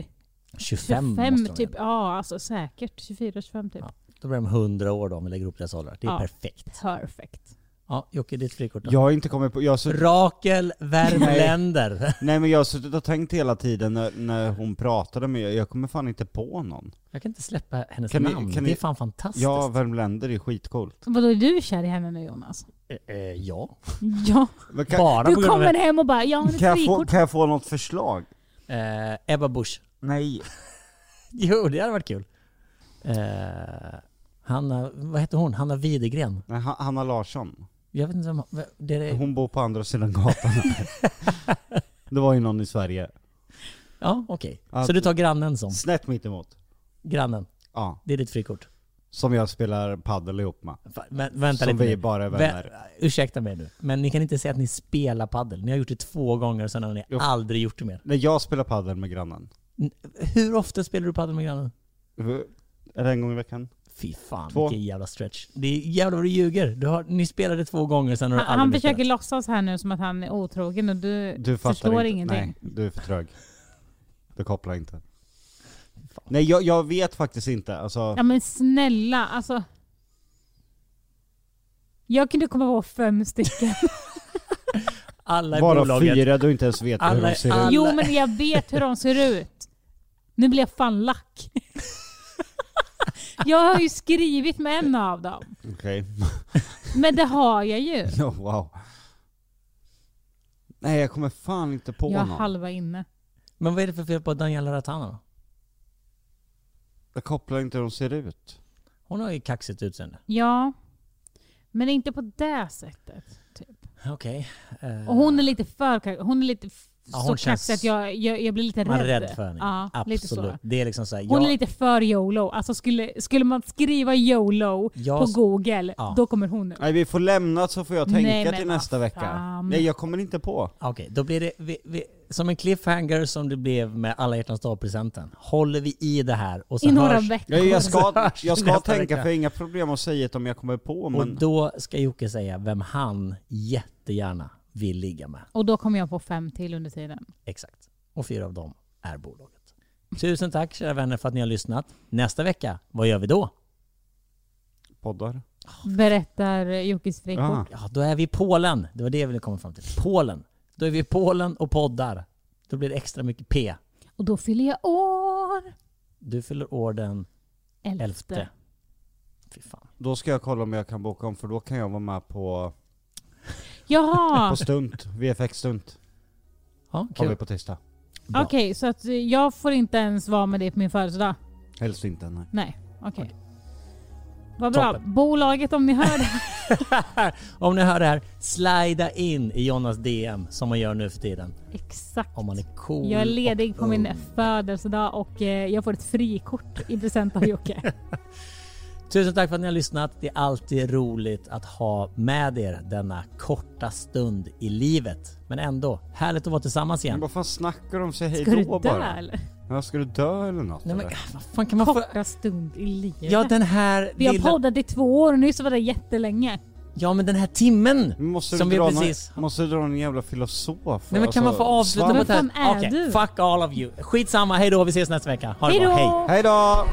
C: 25,
D: 25
C: måste de
D: typ.
C: ju.
D: Ja alltså säkert 24-25 typ.
C: Ja. Då blir de 100 år då om vi lägger ihop deras åldrar. Det är
D: Ja.
C: perfekt.
D: Perfekt.
C: Ja, Jocke, ditt frikort då?
B: Jag har inte kommit på... Jag har suttit,
C: Rakel Värmländer.
B: nej men jag har suttit och tänkt hela tiden när, när hon pratade men jag, jag kommer fan inte på någon.
C: Jag kan inte släppa hennes
B: Kan ni-
C: namn.
B: kan
C: det är
B: ni-
C: fan fantastiskt.
B: Ja, värmländer är skitcoolt.
D: Vadå är du kär i henne nu Jonas?
C: Eh, eh, ja.
D: Ja.
B: Men kan,
C: Bara
D: Du
C: på grund av
D: kommer
C: det.
D: hem och bara jag har
B: kan,
D: ett
B: jag få,
D: frikort.
B: kan jag få något förslag?
C: Eh, Ebba Busch.
B: Nej.
C: Jo, det hade varit kul. Eh, Hanna, vad heter hon? Hanna Widegren.
B: Nej, Ha- Hanna Larsson.
C: Jag vet inte vem vem- det är,
B: Hon bor på andra sidan gatan. det var ju någon i Sverige.
C: Ja, okej.
B: Att-
C: Så du tar grannen som?
B: Snett mitt emot.
C: Grannen,
B: Ja.
C: det är ditt frikort.
B: Som jag spelar paddel ihop med.
C: Fan, Vä vänta
B: Som
C: lite
B: vi
C: nu.
B: bara är
C: Vä-
B: vänner.
C: Ursäkta mig nu, men ni kan inte säga att ni spelar paddel. Ni har gjort det två gånger och sen har ni
B: Jo.
C: aldrig gjort det mer.
B: Nej, jag spelar paddel med grannen.
C: N- Hur ofta spelar du paddel med grannen?
B: Är det en gång i veckan?
C: Fy fan
B: Två.
C: vilken jävla stretch. Det är jävlar vad du ljuger. Du har, ni spelade två gånger sen har du
D: Han,
C: aldrig
D: han
C: mer
D: försöker
C: spelat.
D: låtsas här nu som att han är otrogen och du,
B: Du fattar
D: förstår
B: inte.
D: ingenting.
B: Nej, du är för trög. Du kopplar inte. Nej, jag, jag vet faktiskt inte. Alltså,
D: Ja men snälla alltså. Jag kunde komma på fem stycken.
C: Alla i
B: bara
C: bolaget.
B: fyra du inte ens vet hur
C: Alla-
B: de ser
C: alla-
B: ut.
D: Jo men jag vet hur de ser ut. Nu blir jag fan lack. Jag har ju skrivit med en av dem.
B: Okej.
D: Men det har jag ju.
B: Ja, wow. Nej, jag kommer fan inte på
D: Jag är
B: någon.
D: halva inne.
C: Men vad är det för fel på Daniela Ratana då?
B: Jag kopplar inte hur de ser ut.
C: Hon har ju kaxigt utseende.
D: Ja. Men inte på det sättet. Typ.
C: Okej. eh,
D: Och hon är lite för kar- Hon är lite f-
C: Ja,
D: så
C: hon
D: kaxig
C: känns-
D: att jag, jag, jag blir lite
C: Man
D: rädd.
C: är rädd för henne.
D: Ja,
C: Absolut.
D: Lite så.
C: Det är liksom så här,
D: Hon
C: jag-
D: är lite för YOLO. Alltså skulle, skulle man skriva YOLO
C: Jag-
D: på google,
C: Ja.
D: då kommer hon upp.
B: Nej vi får lämna så får jag
D: Nej,
B: tänka
D: men
B: till
D: vad
B: nästa vecka.
D: fan.
B: Nej jag kommer inte på.
C: Okej, då blir det vi, vi, som en cliffhanger som det blev med alla hjärtans dag-presenten. Håller vi i det här och så
D: I några
C: hörs,
D: veckor.
B: Jag, jag ska,
C: hörs vi
B: jag ska
C: nästa
B: tänka
C: vecka.
B: för jag har inga problem att säga det om jag kommer på
C: Och
B: men...
C: då ska Jocke säga vem han jättegärna vill ligga med.
D: Och då kommer jag på fem till under tiden.
C: Oh, Exakt. Och fyra av dem är bolaget. Tusen tack kära vänner för att ni har lyssnat. Nästa vecka, vad gör vi då?
B: Poddar.
D: Berättar Jockes frikort.
B: Ah.
C: Ja, då är vi i Polen. Det var det jag ville komma fram till. Polen. Då är vi i Polen och poddar. Då blir det extra mycket P.
D: Och då fyller jag år.
C: Du fyller år den
D: Elfte.
C: elfte. Fy fan.
B: Då ska jag kolla om jag kan boka om för då kan jag vara med på, på
D: Jaha!
B: stunt, VFX-stunt.
C: Ja,
B: Har vi
C: kul.
B: på tisdag.
C: Bra.
D: Okej, så att eh, jag får inte ens vara med dig på min födelsedag?
B: Helst inte nej.
D: Nej, okej. Vad bra.
C: Toppen.
D: Bolaget om ni hör det.
C: Om ni hör det här, slida in i Jonas DM som man gör nu för tiden.
D: Exakt.
C: Om man är cool
D: Jag är ledig
C: och
D: på min
C: ung.
D: födelsedag och eh, jag får ett frikort i present av Jocke.
C: Tusen tack för att ni har lyssnat. Det är alltid roligt att ha med er denna korta stund i livet. Men ändå, härligt att vara tillsammans
B: Men
C: igen.
B: vad fan snackar de sig
D: Ska du
B: hejdå
D: dö
B: bara?
D: eller?
B: Ja, ska du dö eller något?
C: Nej men
B: eller?
C: vad fan kan man få...
D: Korta stund i livet.
C: Ja den här
D: vi har
C: lilla...
D: poddat i två år och nyss var det jättelänge.
C: Ja men den här timmen!
B: Men Måste
C: som
B: du
C: vi
B: dra
C: precis...
B: någon, måste du dra någon jävla filosof?
C: Nej men kan man få avsluta
B: svamp?
C: med det här?
D: Vad fan är
C: Okej,
D: du?
C: fuck all of you. Skitsamma, hejdå, vi ses nästa vecka. Ha det bra,
D: Hejdå!
C: hej!
B: Hejdå!